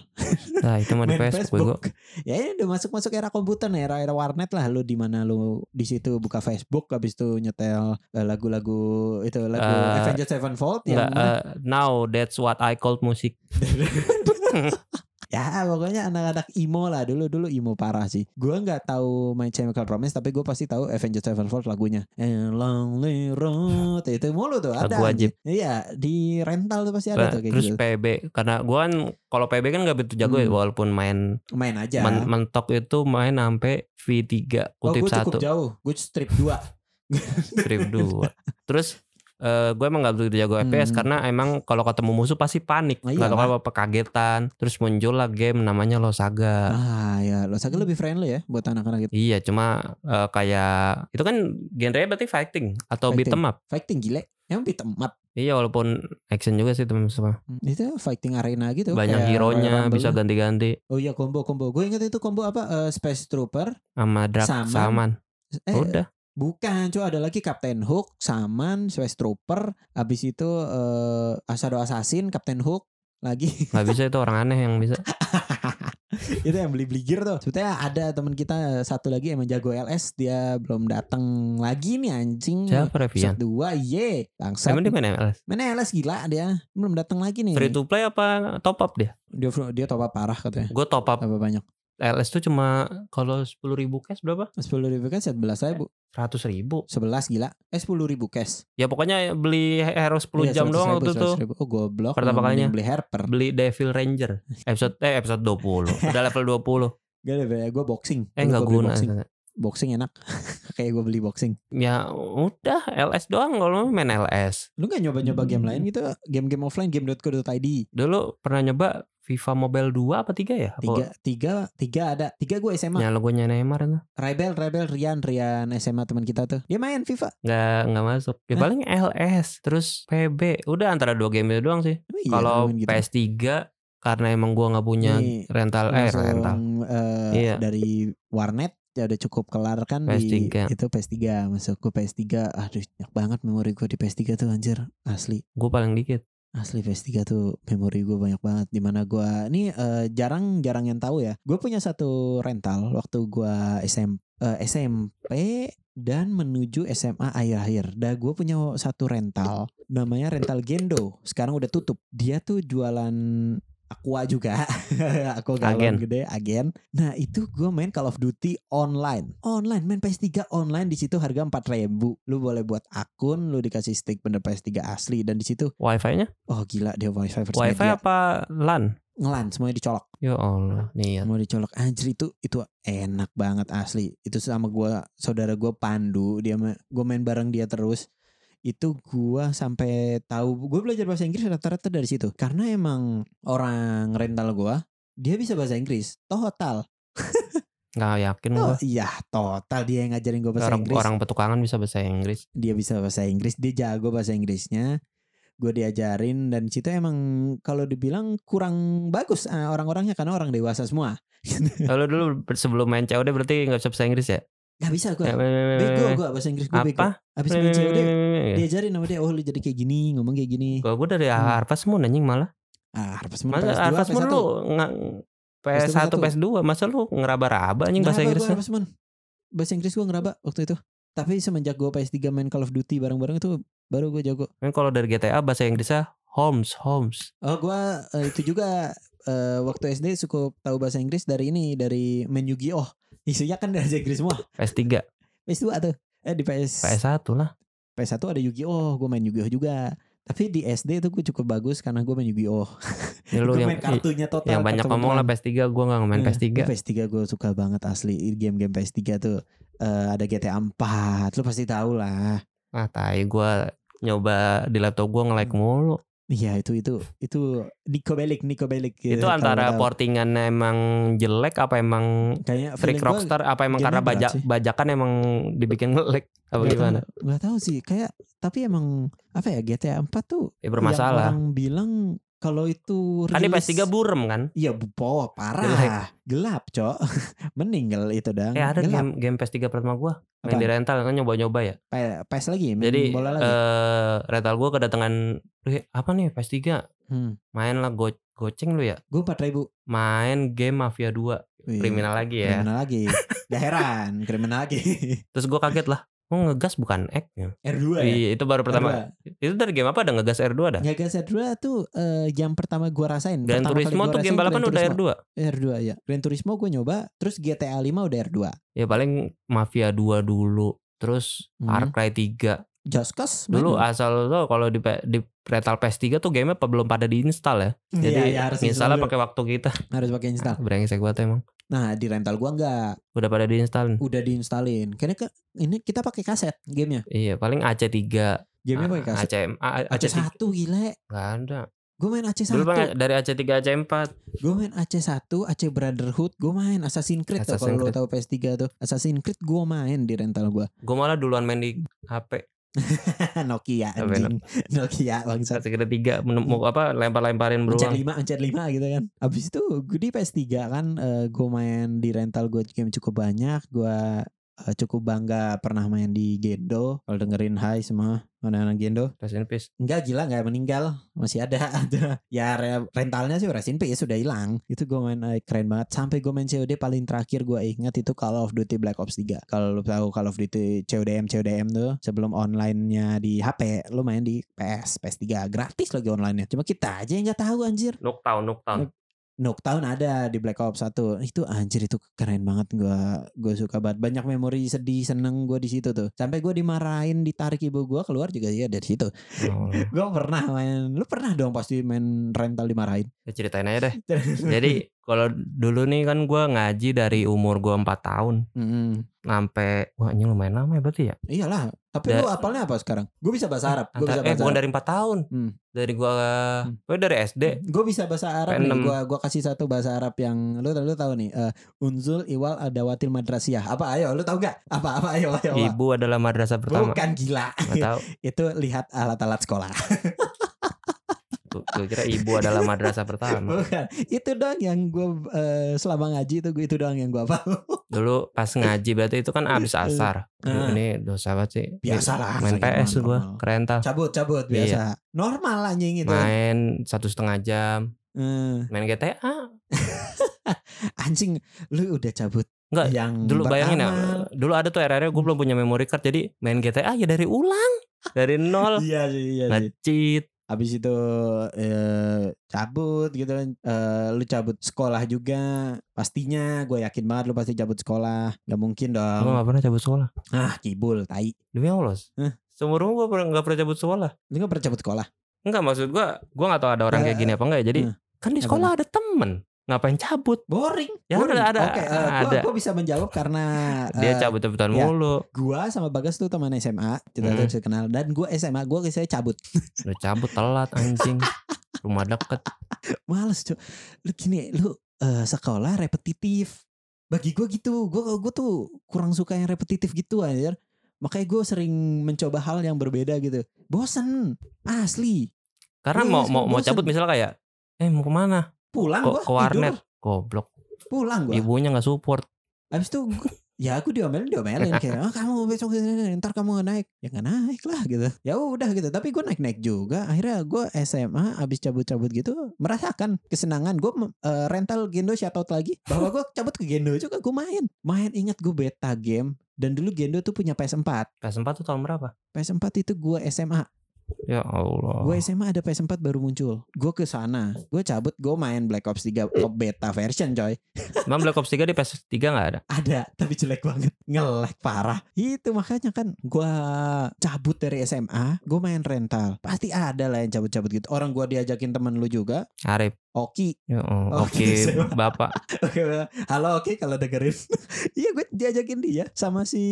nah itu mah di
main
PS gue
Facebook. Ya ini udah masuk-masuk era komputer nih, era-era warnet lah lu di mana lu di situ buka Facebook habis itu nyetel eh, lagu-lagu itu lagu
Eh,
Avenged Sevenfold yang
nggak
mana?
eh, now that's what I call music
ya pokoknya anak-anak emo lah dulu dulu emo parah sih gue nggak tahu My Chemical Romance tapi gue pasti tahu Avenged Sevenfold lagunya And Lonely Road itu mulu tuh ada
Lagu wajib.
anjir. iya di rental tuh pasti ada tuh kayak
Nah, terus
gitu
PB karena gue kan kalau PB kan nggak begitu jago ya
Hmm.
walaupun main
main aja
men- mentok itu main sampai V3
oh
kutip
gue
satu
cukup jauh gue strip 2
Strip 2 Terus eh, gue emang gak begitu jago FPS
Hmm.
karena emang kalau ketemu musuh pasti panik,
Nah,
nggak
iya,
tahu apa kagetan. Terus muncul lah game namanya Losaga.
ah ya lo sakit lebih friendly ya buat anak-anak gitu
Iya, cuma eh, kayak itu kan genre berarti fighting atau
Fighting.
beat 'em up.
fighting gile emang beat 'em up
Iya, walaupun action juga sih teman-teman.
itu fighting arena gitu
Hmm. Banyak
kayak Royal
hero-nya,
Rumble.
bisa ganti-ganti
oh iya combo combo gue inget itu combo apa Eh, Space Trooper
sama Drak
Saman.
Saman.
eh
Udah.
Bukan, cuy ada lagi Captain Hook, Saman, Space Trooper, habis itu eh Shadow Assassin, Captain Hook lagi
nggak bisa itu orang aneh yang bisa.
itu yang beli beli gear tuh. Sebetulnya ada teman kita satu lagi emang jago LS dia belum datang lagi nih anjing.
Siapa Revian?
Episode dua ye bangsat.
Emang dia main MLS?
Mana LS gila dia belum datang lagi nih.
Free to play apa top up dia? Iya.
Dia dia top up parah katanya.
Gue top up
Apa banyak?
LS tuh cuma kalau 10.000 ribu cash berapa?
Sepuluh ribu kan sebelas ribu.
Seratus ribu.
11 gila. Eh 10 ribu cash.
Ya pokoknya beli Hero
Iya,
10 jam
100
doang
ribu,
waktu itu.
100 ribu. Oh goblok. lu
Pertama
mending
kalinya.
Beli Harper.
Beli Devil Ranger. Episode eh episode 20. Udah level 20.
Gak ada beda. Gue boxing.
Eh
Dulu
nggak
gua beli
guna.
Boxing, boxing enak. Kayak gue beli boxing.
Ya udah LS doang kalau main LS.
Lu gak nyoba-nyoba game lain gitu? Game-game offline. Game.co.id.
Dulu pernah nyoba FIFA Mobile 2 apa Ya. 3 ya?
Tiga, tiga, tiga ada. Tiga gue
Apa,
SMA.
nyala gue Neymar tuh.
Rebel, Rebel, Rian, Rian SMA teman kita tuh. Dia main FIFA.
Nggak, nggak masuk. Ya paling LS. Terus PB. Udah antara dua game itu doang sih.
Emang iya
Kalau
main gitu?
PS3 karena emang gua nggak punya
Ini
rental eh
langsung
rental.
eh,
Iya.
dari warnet ya udah cukup kelar kan di
PS3.
itu PS3 masuk ke PS3 aduh banyak banget memori gue di PS3 tuh anjir asli
Gue paling dikit.
asli PS3 tuh memori gue banyak banget dimana gue ini eh, jarang jarang yang tahu ya gue punya satu rental waktu gue SM, eh, SMP dan menuju SMA akhir-akhir. Dah gue punya satu rental namanya rental Gendo. Sekarang udah tutup. Dia tuh jualan Aqua juga. Aqua galon
Agen.
gede, agen. Nah itu gue main Call of Duty online. Online, main PS3 online. Di situ harga 4000 Lu boleh buat akun, lu dikasih stick bener PS3 asli. Dan di situ,
Wifi-nya?
oh gila dia wifi versi
Wifi
media.
apa LAN?
Ngelan, semuanya dicolok.
Ya Allah, niat.
Mau dicolok anjir itu itu enak banget asli. Itu sama gua saudara gua Pandu, dia ma- gua main bareng dia terus. Itu gua sampai tahu gua belajar bahasa Inggris rata-rata dari situ. Karena emang orang rental gua dia bisa bahasa Inggris total.
Nggak yakin
Oh
gua
iya, total dia yang ngajarin gua bahasa
Orang,
Inggris.
orang petukangan bisa bahasa Inggris.
Dia bisa bahasa Inggris, dia jago bahasa Inggrisnya. Gue diajarin dan situ emang kalau dibilang kurang bagus eh, orang-orangnya karena orang dewasa semua.
Kalau dulu ber- sebelum main COD berarti nggak bisa bahasa Inggris ya?
Gak bisa gue.
Ya,
Bego gue bahasa Inggris gue bego.
Apa? Eh.
Abis main COD diajarin sama dia oh lu jadi kayak gini ngomong kayak gini.
Kalau gue dari
Hmm.
Harvest Moon anjing malah.
Ah, Harvest Moon
Masa
PS2
Harvest Moon
PS1.
lu nggak- PS1,
PS1.
PS2 masa lu ngeraba-raba anjing bahasa
Ngeraba
Inggris
gua Harvest Moon. Bahasa Inggris gue ngeraba waktu itu. Tapi semenjak gue PS3 main Call of Duty bareng-bareng itu baru gue jago.
Kan kalau dari GTA bahasa Inggrisnya Holmes, Holmes.
Oh gue eh, itu juga eh, waktu SD cukup tahu bahasa Inggris dari ini dari main Yu-Gi-Oh. Isinya kan dari bahasa Inggris semua.
PS3,
PS2 tuh. Eh di PS
PS1 lah.
PS1 ada Yu-Gi-Oh, gue main Yu-Gi-Oh juga. Tapi di SD itu gue cukup bagus karena gue main Yu-Gi-Oh.
Ya, lu
Gua
yang
main kartunya total. kan?
yang banyak
kartu
ngomong lah PS3 gue gak main
Iya.
PS3
Gua PS3 gue suka banget asli game-game PS3 tuh eh, ada GTA 4 lu pasti tahu lah
ah tai gue nyoba di laptop gue
Hmm.
nge-like mulu
iya itu itu itu Nico Bellic Nico Bellic ya,
itu
kalau
antara
tahu.
portingan emang jelek apa emang
kayaknya
trik rockstar apa emang
gamenya
karena
berat
baja,
sih. Iya,
bajakan emang dibikin nge-lag apa gimana
nggak tahu sih kayak tapi emang apa ya GTA 4 tuh yang
ya bermasalah
orang bilang kalau itu
kan di
rilis-
PS3 burem kan
Iya, bu- po, parah.
Jelek.
Gelap, Cok. Meninggal itu dang.
eh ada
Gelap.
game game PS3 pertama gue main
Iya Apaan?
di rental kan nyoba-nyoba ya
Pe- PES lagi, main
jadi
bola lagi.
eh rental gue kedatangan eh, apa nih PS3
hmm.
main lah go goceng lu ya
Gue 4000.
main game Mafia 2
Wih,
kriminal lagi ya
Iya, Kriminal lagi. Gak heran, kriminal lagi.
terus gue kaget lah oh ngegas bukan X
R2 ya.
Iya, itu baru pertama.
Iya.
Itu dari game apa ada ngegas R2 ada?
Nggak Gas R2 tuh eh, yang pertama gua rasain.
Gran
Pertama kali
Turismo
gua
tuh game
rasain
balapan
Gran
udah
Turismo.
R2.
R2 ya. Gran Turismo gue nyoba, terus GTA 5 udah R2.
Ya paling Mafia 2 dulu, terus
Hmm.
Far Cry 3.
Just Cause main
Dulu
dong.
ah. asal lo kalau di pe- di rental PS3 tuh game apa belum pada diinstal ya.
Iya,
Jadi
iya, harus
installnya
install dulu.
pakai waktu kita.
harus pakai install.
Brengsek banget emang.
Nah, di rental gua nggak
Udah pada diinstalin.
udah diinstalin. Karena ke, ini kita pakai kaset gamenya.
Iya, paling AC3.
Gamenya
Ah,
pakai kaset.
ACM A- AC3
AC1 gile.
enggak ada.
Gue main AC1.
Dulu paling dari AC3 AC4.
Gue main AC1, AC Brotherhood, gue main Assassin's Creed tuh
Assassin's
kalau lo
Creed.
tahu PS3 tuh. Assassin's Creed gue main di rental gua.
Gue malah duluan main di HP.
Nokia
Apa
anjing. Nokia bangsat.
Segera 3 menemukan apa lempar-lemparin
Mencet
berulang.
lima, mencet lima gitu kan. Abis itu gue di PS3 kan gue main di rental gue game cukup banyak. Gue eh, cukup bangga pernah main di Gendo. Kalau dengerin hai semua anak-anak Gendo.
Rest in peace.
Enggak gila nggak meninggal. Masih ada ada. Ya re- rentalnya sih rest in peace sudah hilang. Itu gue main eh, keren banget. Sampai gue main COD paling terakhir gue ingat itu Call of Duty Black Ops 3. Kalau lu tahu Call of Duty CODM CODM tuh sebelum online-nya di HP, lu main di PS PS3 gratis lagi online-nya. Cuma kita aja yang nggak tahu anjir.
Knockdown, knockdown.
Nuketown ada di Black Ops 1. Itu anjir itu keren banget gua gua suka banget. Banyak memori sedih, seneng gua di situ tuh. Sampai gua dimarahin, ditarik ibu gua keluar juga ya dari situ.
Oh,
Gua pernah main. Lu pernah dong pasti main rental dimarahin.
ya ceritain aja deh. Jadi kalau dulu nih kan gua ngaji dari umur gua 4 tahun
Mm-mm.
sampai wah ini lumayan lama ya berarti ya.
Iyalah, tapi
Da-
lu apalnya apa sekarang? Gua bisa bahasa Arab, gua bisa
Antara- eh
bahasa
bukan
Arab.
dari 4 tahun.
Hmm.
Dari gua
Hmm.
gua dari SD.
Gue bisa bahasa Arab nih.
P6.
Gua gua kasih satu bahasa Arab yang lu lu tahu nih. eh, unzul iwal adawatil madrasiyah. Apa ayo lu tahu nggak? Apa apa ayo ayo. apa?
Ibu adalah madrasah pertama.
Bukan gila.
Gak tahu.
Itu lihat alat-alat sekolah.
Gua- Gua kira ibu adalah madrasah pertama.
Bukan. Itu doang yang gue selama ngaji itu gue itu doang yang gue apa?
Dulu pas ngaji berarti itu kan abis asar. Duh,
Ah.
Ini dosa banget sih.
Biasalah.
Iya, Main
Normal,
PS gua
Iya, normal.
keren tau.
Cabut cabut biasa. Normal anjing itu.
Main satu setengah jam.
Eh,
Main GTA.
anjing lu udah cabut.
Nggak,
yang
Dulu bayangin ya.
beramal.
Dulu ada tuh era-era gue belum punya memory card. Jadi main GTA ya dari ulang. Dari nol.
Iya sih, iya
Nah.
sih.
Ngecit.
Habis itu eh, cabut gitu kan. Eh, lu cabut sekolah juga. Pastinya gue yakin banget lu pasti cabut sekolah. Gak mungkin
Gue
dong.
gak pernah cabut sekolah.
Ah kibul, tai.
Demi Allah.
Hah?
Seumur gue gak pernah cabut sekolah.
Lu gak pernah cabut sekolah?
Enggak maksud gua, gua nggak tahu ada orang kayak gini apa enggak. ya. Jadi
eh.
kan di
Apa
sekolah ada temen, ngapain cabut?
Boring.
Ya,
boring.
ada- ada-
Oke, eh, gua,
ada.
gua bisa menjawab karena
Dia
eh,
cabut-cabutan
ya.
mulu,
gua sama Bagas tuh teman SMA, kita tuh
Hmm.
bisa kenal dan gua SMA, gua saya cabut.
udah cabut telat anjing. Rumah deket,
Males, Cuk. Lu gini, lu eh, sekolah repetitif. Bagi gua gitu, gua gua tuh kurang suka yang repetitif gitu anjir. Makanya gue sering mencoba hal yang berbeda gitu. Bosen, asli.
karena
Iya,
mau
iya,
mau mau
bosen.
cabut misalnya kayak, eh mau kemana?
Pulang
Kok
gua
ke
tidur,
warnet? Goblok,
Pulang gua
ibunya nggak support.
Habis itu gua- ya aku diomelin diomelin kayak oh, kamu besok ini, ini, ntar kamu nggak naik ya nggak naik lah gitu ya udah gitu tapi gue naik naik juga akhirnya gue SMA abis cabut cabut gitu merasakan kesenangan gue rental Gendo shoutout lagi bahwa gue cabut ke Gendo juga gue main main ingat gue beta game dan dulu Gendo tuh punya PS4
PS4 tuh tahun berapa?
PS4 itu gue SMA
Ya Allah.
Gue SMA ada PS4 baru muncul Gue ke sana Gue cabut Gue main Black Ops 3 Beta version coy
Emang Black Ops 3 di PS3 nggak ada?
ada tapi jelek banget ngelek parah itu makanya kan gua cabut dari SMA gue main rental pasti ada lah yang cabut-cabut gitu orang gua diajakin temen lu juga
Arif.
Oki
Ya
Oh,
Allah, Oke,
gitu.
Bapak.
halo Oki kalau dengerin iya gue diajakin dia sama si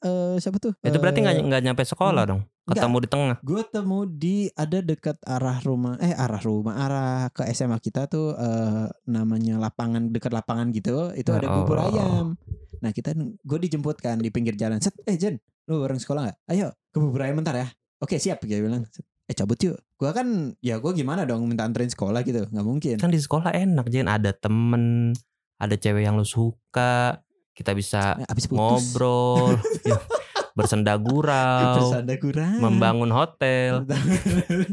eh, siapa tuh Eh,
Itu berarti nggak nggak nyampe sekolah dong.
Hmm, Nggak.
Ketemu di tengah.
gue temu di ada dekat arah rumah eh arah rumah arah ke SMA kita tuh eh, namanya lapangan dekat lapangan gitu itu ada
Ya
bubur
Allah.
ayam nah kita gue dijemput kan di pinggir jalan set eh Jen lu bareng sekolah nggak ayo ke bubur ayam bentar ya oke siap dia bilang Set, eh cabut yuk gue kan ya gue gimana dong minta anterin sekolah gitu nggak mungkin
kan di sekolah enak Jen ada temen ada cewek yang lu suka kita bisa
nah, abis putus
ngobrol ya, bersenda gurau
bersanda kurang
membangun hotel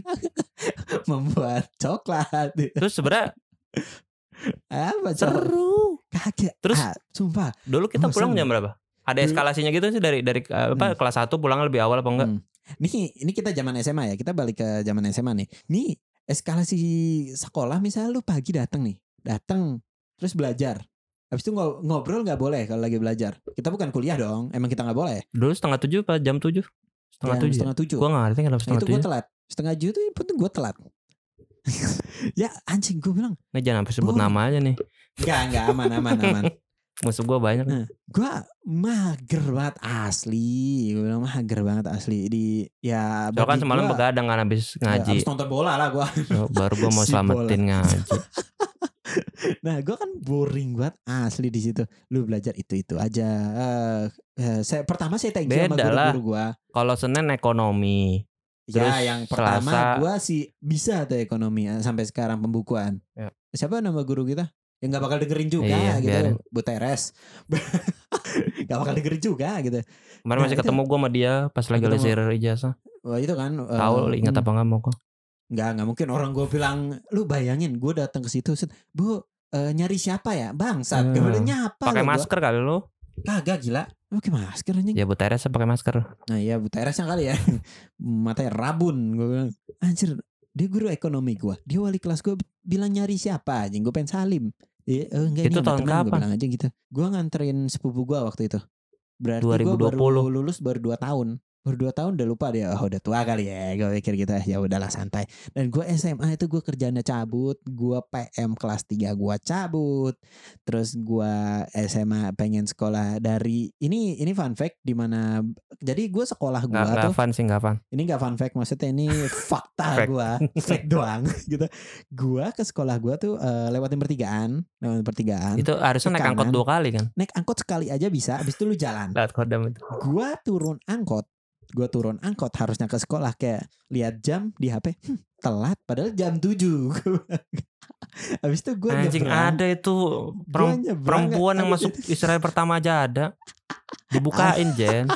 membuat coklat
terus sebenernya
apa coklat
seru
kagak
Terus-
Ah, sumpah
dulu kita
Oh,
pulang
seru.
jam berapa ada
Dulu-
eskalasinya gitu sih dari dari eh, apa kelas 1 pulang lebih awal apa enggak
Hmm. Nih, ini kita zaman SMA ya. Kita balik ke zaman SMA nih. Nih, eskalasi sekolah misalnya lu pagi datang nih. Datang terus belajar. Habis itu ngo- ngobrol nggak boleh kalau lagi belajar. Kita bukan kuliah dong. Emang kita nggak boleh.
dulu setengah tujuh apa jam tujuh setengah
Jam
tujuh ya?
Setengah tujuh.
gua nggak ngerti kenapa
Nah, itu
setengah
gue
tujuh
telat. Setengah tujuh itu pun gue telat. ya anjing gue bilang
nggak jangan sampai sebut
Boleh.
namanya nih
nggak nggak aman aman aman
musuh gua banyak
Nah. gue mager banget asli gue bilang mager banget asli di ya
Soalnya kan
bagi
semalam
gua-
begadang kan habis
ya,
ngaji
abis nonton bola lah gue
baru gua mau
Si bola.
selamatin ngaji
Nah, gue kan boring banget asli di situ. Lu belajar itu itu aja. Eh, eh, saya pertama saya thank you sama
Beda lah.
guru-guru gue.
kalau Senin ekonomi Terus
Ya, yang pertama
Selasa-
gue sih bisa tuh ekonomi eh, sampai sekarang pembukuan.
Ya.
Siapa nama guru kita? Yang nggak bakal dengerin juga
Iya,
gitu,
biarin.
Bu Teres. gak bakal dengerin juga gitu.
Kemarin
Nah,
masih
itu-
ketemu gue sama dia pas lagi
Ketemu.
lesir ijazah.
Wah itu kan. eh,
Tahu lu ingat
hmm.
apa enggak mau kok.
Nggak, nggak mungkin orang gue bilang, lu bayangin gue datang ke situ, set, bu eh, nyari siapa ya, bangsat,
Hmm.
gak boleh nyapa.
Pakai
lu, gua."
masker kali lu.
Kagak gila. Lu Pakai masker anjing.
Ya Bu Teresa pakai masker.
Nah iya Bu Teresnya kali ya Matanya rabun Gue bilang Anjir Dia guru ekonomi gue Dia wali kelas gue bilang nyari siapa anjing gue pengen salim Iya, eh, enggak,
Itu
ini sama
tahun
temen, Gue
kapan?
bilang aja gitu. Gue nganterin sepupu gue waktu itu. Berarti gue baru
2020.
lulus baru 2 tahun. Baru 2 tahun udah lupa dia. Oh, udah tua kali ya. Gue pikir gitu. "Ah, Ya udahlah santai. Dan gue SMA itu gue kerjaannya cabut. Gue PM kelas 3 gue cabut. Terus gue SMA pengen sekolah dari. Ini ini fun fact dimana. Jadi gue sekolah gue
nggak
tuh Kan
nggak fun sih nggak fun
ini nggak fun fact maksudnya ini fakta
Fact.
gua fact doang gitu gua ke sekolah gua tuh eh, lewatin pertigaan lewatin pertigaan
itu harusnya naik angkot
kanan.
dua kali kan
naik angkot sekali aja bisa abis itu lu jalan
lewat kodam itu
gua turun angkot gua turun angkot harusnya ke sekolah kayak lihat jam di HP hmm, telat padahal jam 7 abis itu gua
anjing
nyebrang.
ada itu
Gua
perem-
nyebrang
perempuan yang
abis
masuk
itu.
Israel pertama aja ada
Ah.
dibukain Jen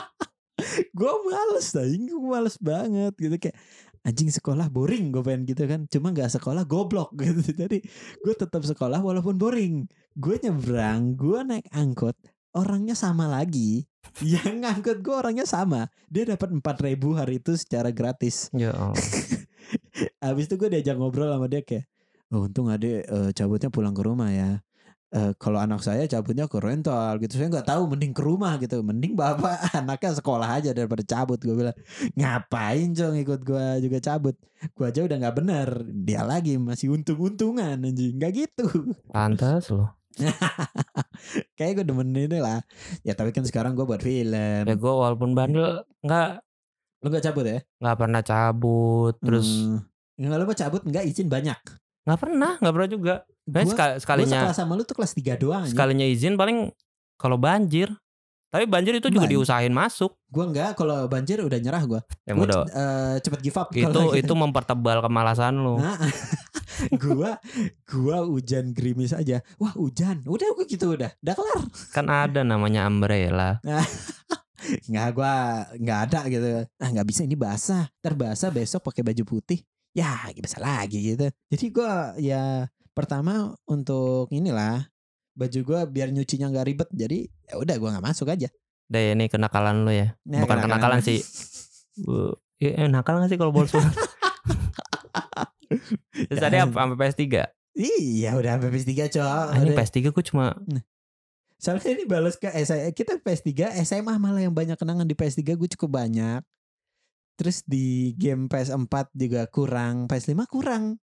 gue males anjing gue males banget gitu kayak anjing sekolah boring gue pengen gitu kan cuma nggak sekolah goblok gitu jadi gue tetap sekolah walaupun boring gue nyebrang gue naik angkot orangnya sama lagi yang ngangkut gue orangnya sama dia dapat 4000 hari itu secara gratis
ya Allah.
habis itu gue diajak ngobrol sama dia kayak oh, untung adek eh, cabutnya pulang ke rumah ya Eh, kalau anak saya cabutnya ke rental gitu saya nggak tahu mending ke rumah gitu mending bapak anaknya sekolah aja daripada cabut gue bilang ngapain cong ikut gue juga cabut gue aja udah nggak bener dia lagi masih untung-untungan anjing nggak gitu
pantas loh
kayak gue demen ini lah ya tapi kan sekarang gue buat film
ya gue walaupun bandel nggak
lu nggak cabut ya
nggak pernah cabut terus
Hmm. nggak lu mau cabut nggak izin banyak
nggak pernah nggak pernah juga
gue
Kayak sekal- Eh, sekalinya
sekelas sama lu tuh kelas 3 doang anjing.
sekalinya izin paling kalau banjir tapi banjir itu juga
Banjir.
diusahain masuk
Gue enggak kalau banjir udah nyerah gue.
ya
Gue
udah
eh, cepet give up. gitu.
itu itu mempertebal kemalasan lu
gue gua hujan gerimis aja. Wah hujan. Udah gue gitu udah. Udah kelar.
kan ada namanya umbrella
Nggak gue nggak ada gitu. Ah nggak bisa ini basah. Ntar basah besok pakai baju putih. Ya bisa lagi gitu. Jadi gue ya pertama untuk inilah baju gue biar nyucinya nggak ribet. Jadi ya udah gue nggak masuk aja.
deh ini kenakalan lu ya
Ya,
bukan kenakalan sih Uh, eh, eh, nakal gak sih kalau Bolsonaro
Ya,
terus
eh.
tadi apa sampai PS3
Iya udah sampai PS3 cok.
anjing
Udah.
PS3 gue cuma
Soalnya ini balas ke SMA. Kita PS3, SMA malah yang banyak kenangan di PS3 gue cukup banyak. Terus di game PS4 juga kurang, PS5 kurang.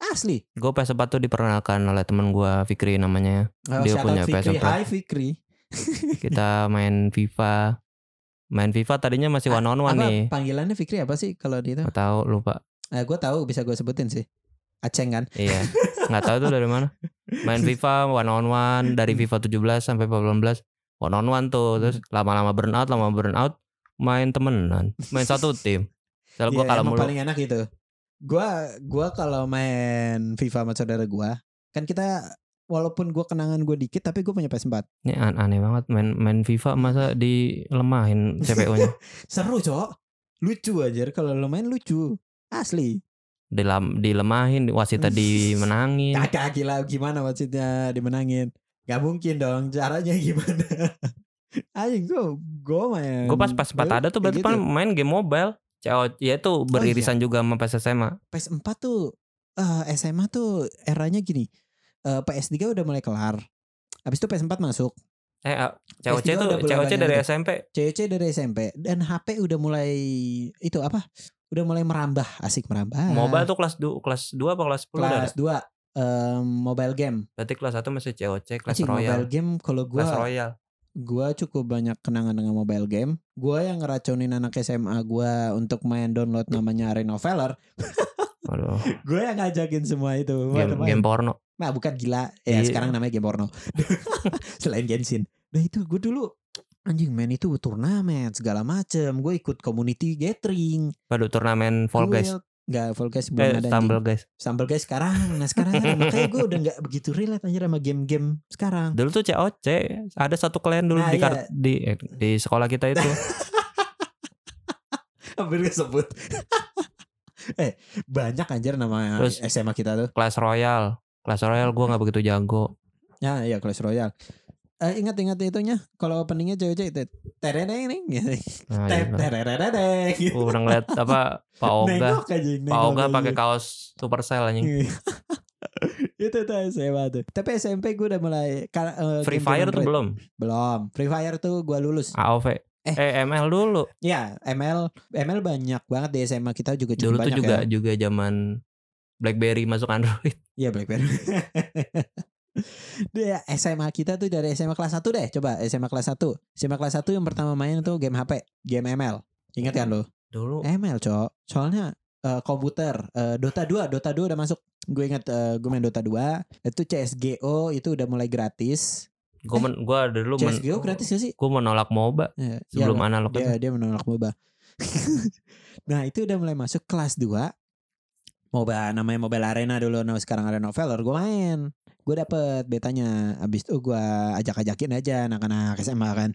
Asli.
gue PS4 tuh diperkenalkan oleh temen gue Fikri namanya
Oh,
Dia
shout
punya
out Fikri.
PS4.
Hai Fikri.
kita main FIFA main FIFA tadinya masih one on one
Eh, Apa
nih
panggilannya Fikri apa sih kalau di itu?
nggak tahu lupa
Eh, gue tahu bisa gue sebutin sih. Aceng kan?
iya nggak tahu tuh dari mana main FIFA one on one dari FIFA 17 sampai 18 one on one tuh terus
Hmm.
lama-lama burn out lama burn out main temenan main satu tim Soalnya gue
Iya,
kalau
emang
mulu
paling enak itu. Gua gua kalau main FIFA sama saudara gua, kan kita walaupun gua kenangan gue dikit tapi gue punya PS4.
Ini an- aneh banget main main FIFA masa dilemahin CPU-nya.
Seru, Cok. Lucu aja kalau lo main lucu. Asli.
Dilam, dilemahin, wasitnya dimenangin.
Kagak gila gimana maksudnya dimenangin? Gak mungkin dong caranya gimana? Anjing gue gue main.
Gue pas pas sempat
gua
ada tuh berarti
kayak gitu. Oh, iya.
paling main game mobile. CO, ya itu beririsan juga sama PS SMA.
PS4 tuh eh, SMA tuh eranya gini. Eh, PS3 udah mulai kelar. Habis itu PS4 masuk.
Eh, eh, COC
PS3
tuh
udah boleh
COC
banyak
dari
tuh.
SMP.
CC dari SMP dan HP udah mulai itu apa? Udah mulai merambah, asik merambah.
Mobile tuh kelas 2 kelas 2 apa kelas 10 udah ada?
Ah. kelas 2 mobile game.
Berarti kelas 1 masih COC, kelas
Anjing,
Royal.
mobile game kalau gua
Kelas Royal.
Gua cukup banyak kenangan dengan mobile game. Gua yang ngeracunin anak SMA gua untuk main download namanya Arena of Valor.
Aduh,
Gua yang ngajakin semua itu. Buat
game,
main.
game porno.
Nah, bukan gila. Ya,
Iya.
sekarang namanya game porno. Selain Genshin. Nah, itu gue dulu anjing main itu turnamen segala macem. Gue ikut community gathering.
Waduh, turnamen Fall Guys.
Enggak, Fall Guys belum
Eh,
ada anjing.
Stumble Guys.
Stumble Guys sekarang. Nah, sekarang ada. makanya gue udah nggak begitu relate anjir sama game-game sekarang.
Dulu tuh COC, ada satu klan dulu
Nah,
di,
iya.
kar- di eh, di sekolah kita itu.
Hampir kesebut. eh, banyak anjir nama
Terus-
SMA kita tuh.
kelas royal kelas royal gua nggak begitu jago
Ya, iya Clash Royale. Eh, ingat-ingat itunya kalau openingnya cewek-cewek itu terereng gitu.
nah, iya,
Tep, terereng gitu.
Gua pernah ngeliat apa Pak Oga
Nengok aja,
Pak
nengok
Oga
aja.
pakai kaos Supercell anjing
Iya. itu tuh SMA tuh. Tapi SMP gue udah mulai kar- eh,
Free
game
Fire tuh
Android.
belum.
belum. Free Fire tuh gue lulus.
AOV.
Eh.
Eh, ML dulu.
Ya ML ML banyak banget di SMA kita juga
Dulu
cukup
tuh
banyak
juga
ya.
juga zaman BlackBerry masuk Android.
Iya Blackberry. Dia SMA kita tuh dari SMA kelas 1 deh. Coba SMA kelas 1. SMA kelas 1 yang pertama main tuh game HP, game ML. Ingat kan lo?
Dulu
ML, Cok. Soalnya eh, komputer eh, Dota 2, Dota 2 udah masuk. Gue ingat eh, gue main Dota 2, itu CS:GO itu udah mulai gratis. eh,
gua men- gua ada dulu men-
CS:GO gratis gak sih?
Gua menolak MOBA
Ya, ya
sebelum analog kan? itu.
dia dia menolak MOBA. nah, itu udah mulai masuk kelas 2. MOBA namanya Mobile Arena dulu, nah sekarang ada Valor gue main. Gue dapet betanya. Abis itu gue ajak-ajakin aja anak-anak SMA kan.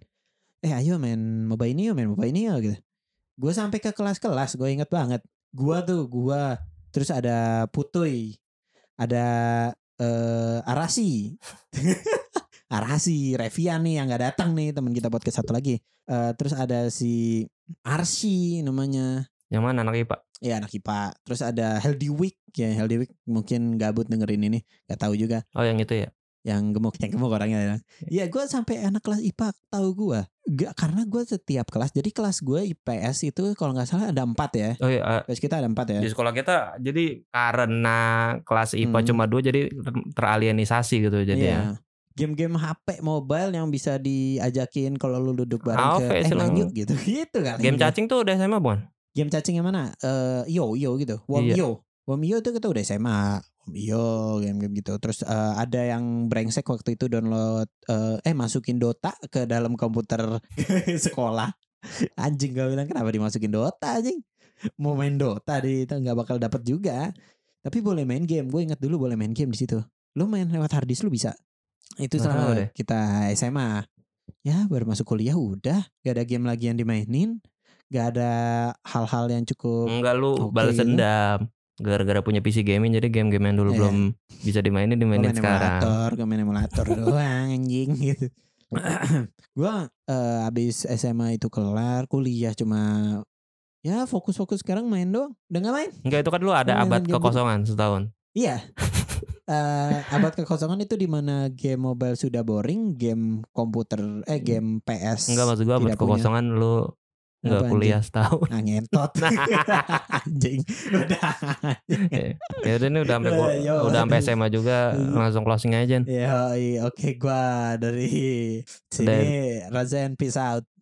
Eh ayo main MOBA ini yuk, main MOBA ini yuk gitu. Gue sampai ke kelas-kelas, gue inget banget. Gue tuh, gue terus ada Putuy, ada eh Arasi. Arasi, Revian nih yang nggak datang nih teman kita podcast satu lagi. Eh, terus ada si Arsi namanya
Yang mana anak IPA?
ya anak IPA terus ada Healthy Week ya Healthy Week mungkin gabut dengerin ini nggak tahu juga
Oh, yang itu ya.
yang gemuk yang gemuk orangnya ya ya gue sampai anak kelas IPA tahu gue gak karena gue setiap kelas jadi kelas gue IPS itu kalau nggak salah ada empat ya
Oh iya, eh,
kelas kita ada empat ya
di sekolah kita jadi karena kelas IPA
Hmm.
cuma dua jadi ter- teralienisasi gitu jadi
Iya.
ya.
game-game HP mobile yang bisa diajakin kalau lu duduk
Ah,
bareng
oke,
ke eh
silakan.
lanjut gitu gitu kali
ya. Game cacing tuh udah SMA bukan?
game cacing yang mana? Eh yo yo gitu.
Iya.
Womio. Womio itu kita udah SMA. Womio game-game gitu. Terus eh, ada yang brengsek waktu itu download eh, eh masukin Dota ke dalam komputer sekolah. Anjing gak bilang kenapa dimasukin Dota anjing. Mau main Dota di itu nggak bakal dapet juga. Tapi boleh main game. Gue inget dulu boleh main game di situ. Lu main lewat harddisk lu bisa. Itu
Nggak tahu
selama
deh.
kita SMA. Ya baru masuk kuliah udah. Gak ada game lagi yang dimainin. Gak ada hal-hal yang cukup
Enggak lu
Oke,
balas
gitu.
dendam. Gara-gara punya PC gaming jadi game-game yang dulu
Iya.
belum bisa dimainin
Gua
dimainin
main
sekarang.
emulator, gue main emulator doang anjing gitu. gua eh, habis SMA itu kelar, kuliah cuma ya fokus-fokus sekarang main doang. Udah gak main?
Enggak itu kan lu ada
Lu mainan
abad
game
kekosongan setahun.
Iya. Eh abad kekosongan itu di mana game mobile sudah boring, game komputer eh game PS.
Enggak Hmm. maksud gua abad
Tidak punya.
kekosongan lu enggak
Apa,
kuliah setahun.
Ah ngentot. anjing. Udah.
ya udah ini udah sampai
Lah,
gua-
yo.
udah sampai SMA juga
Hmm.
langsung
Dạ,
closing aja.
Ya, oke gua dari sini Razen peace out.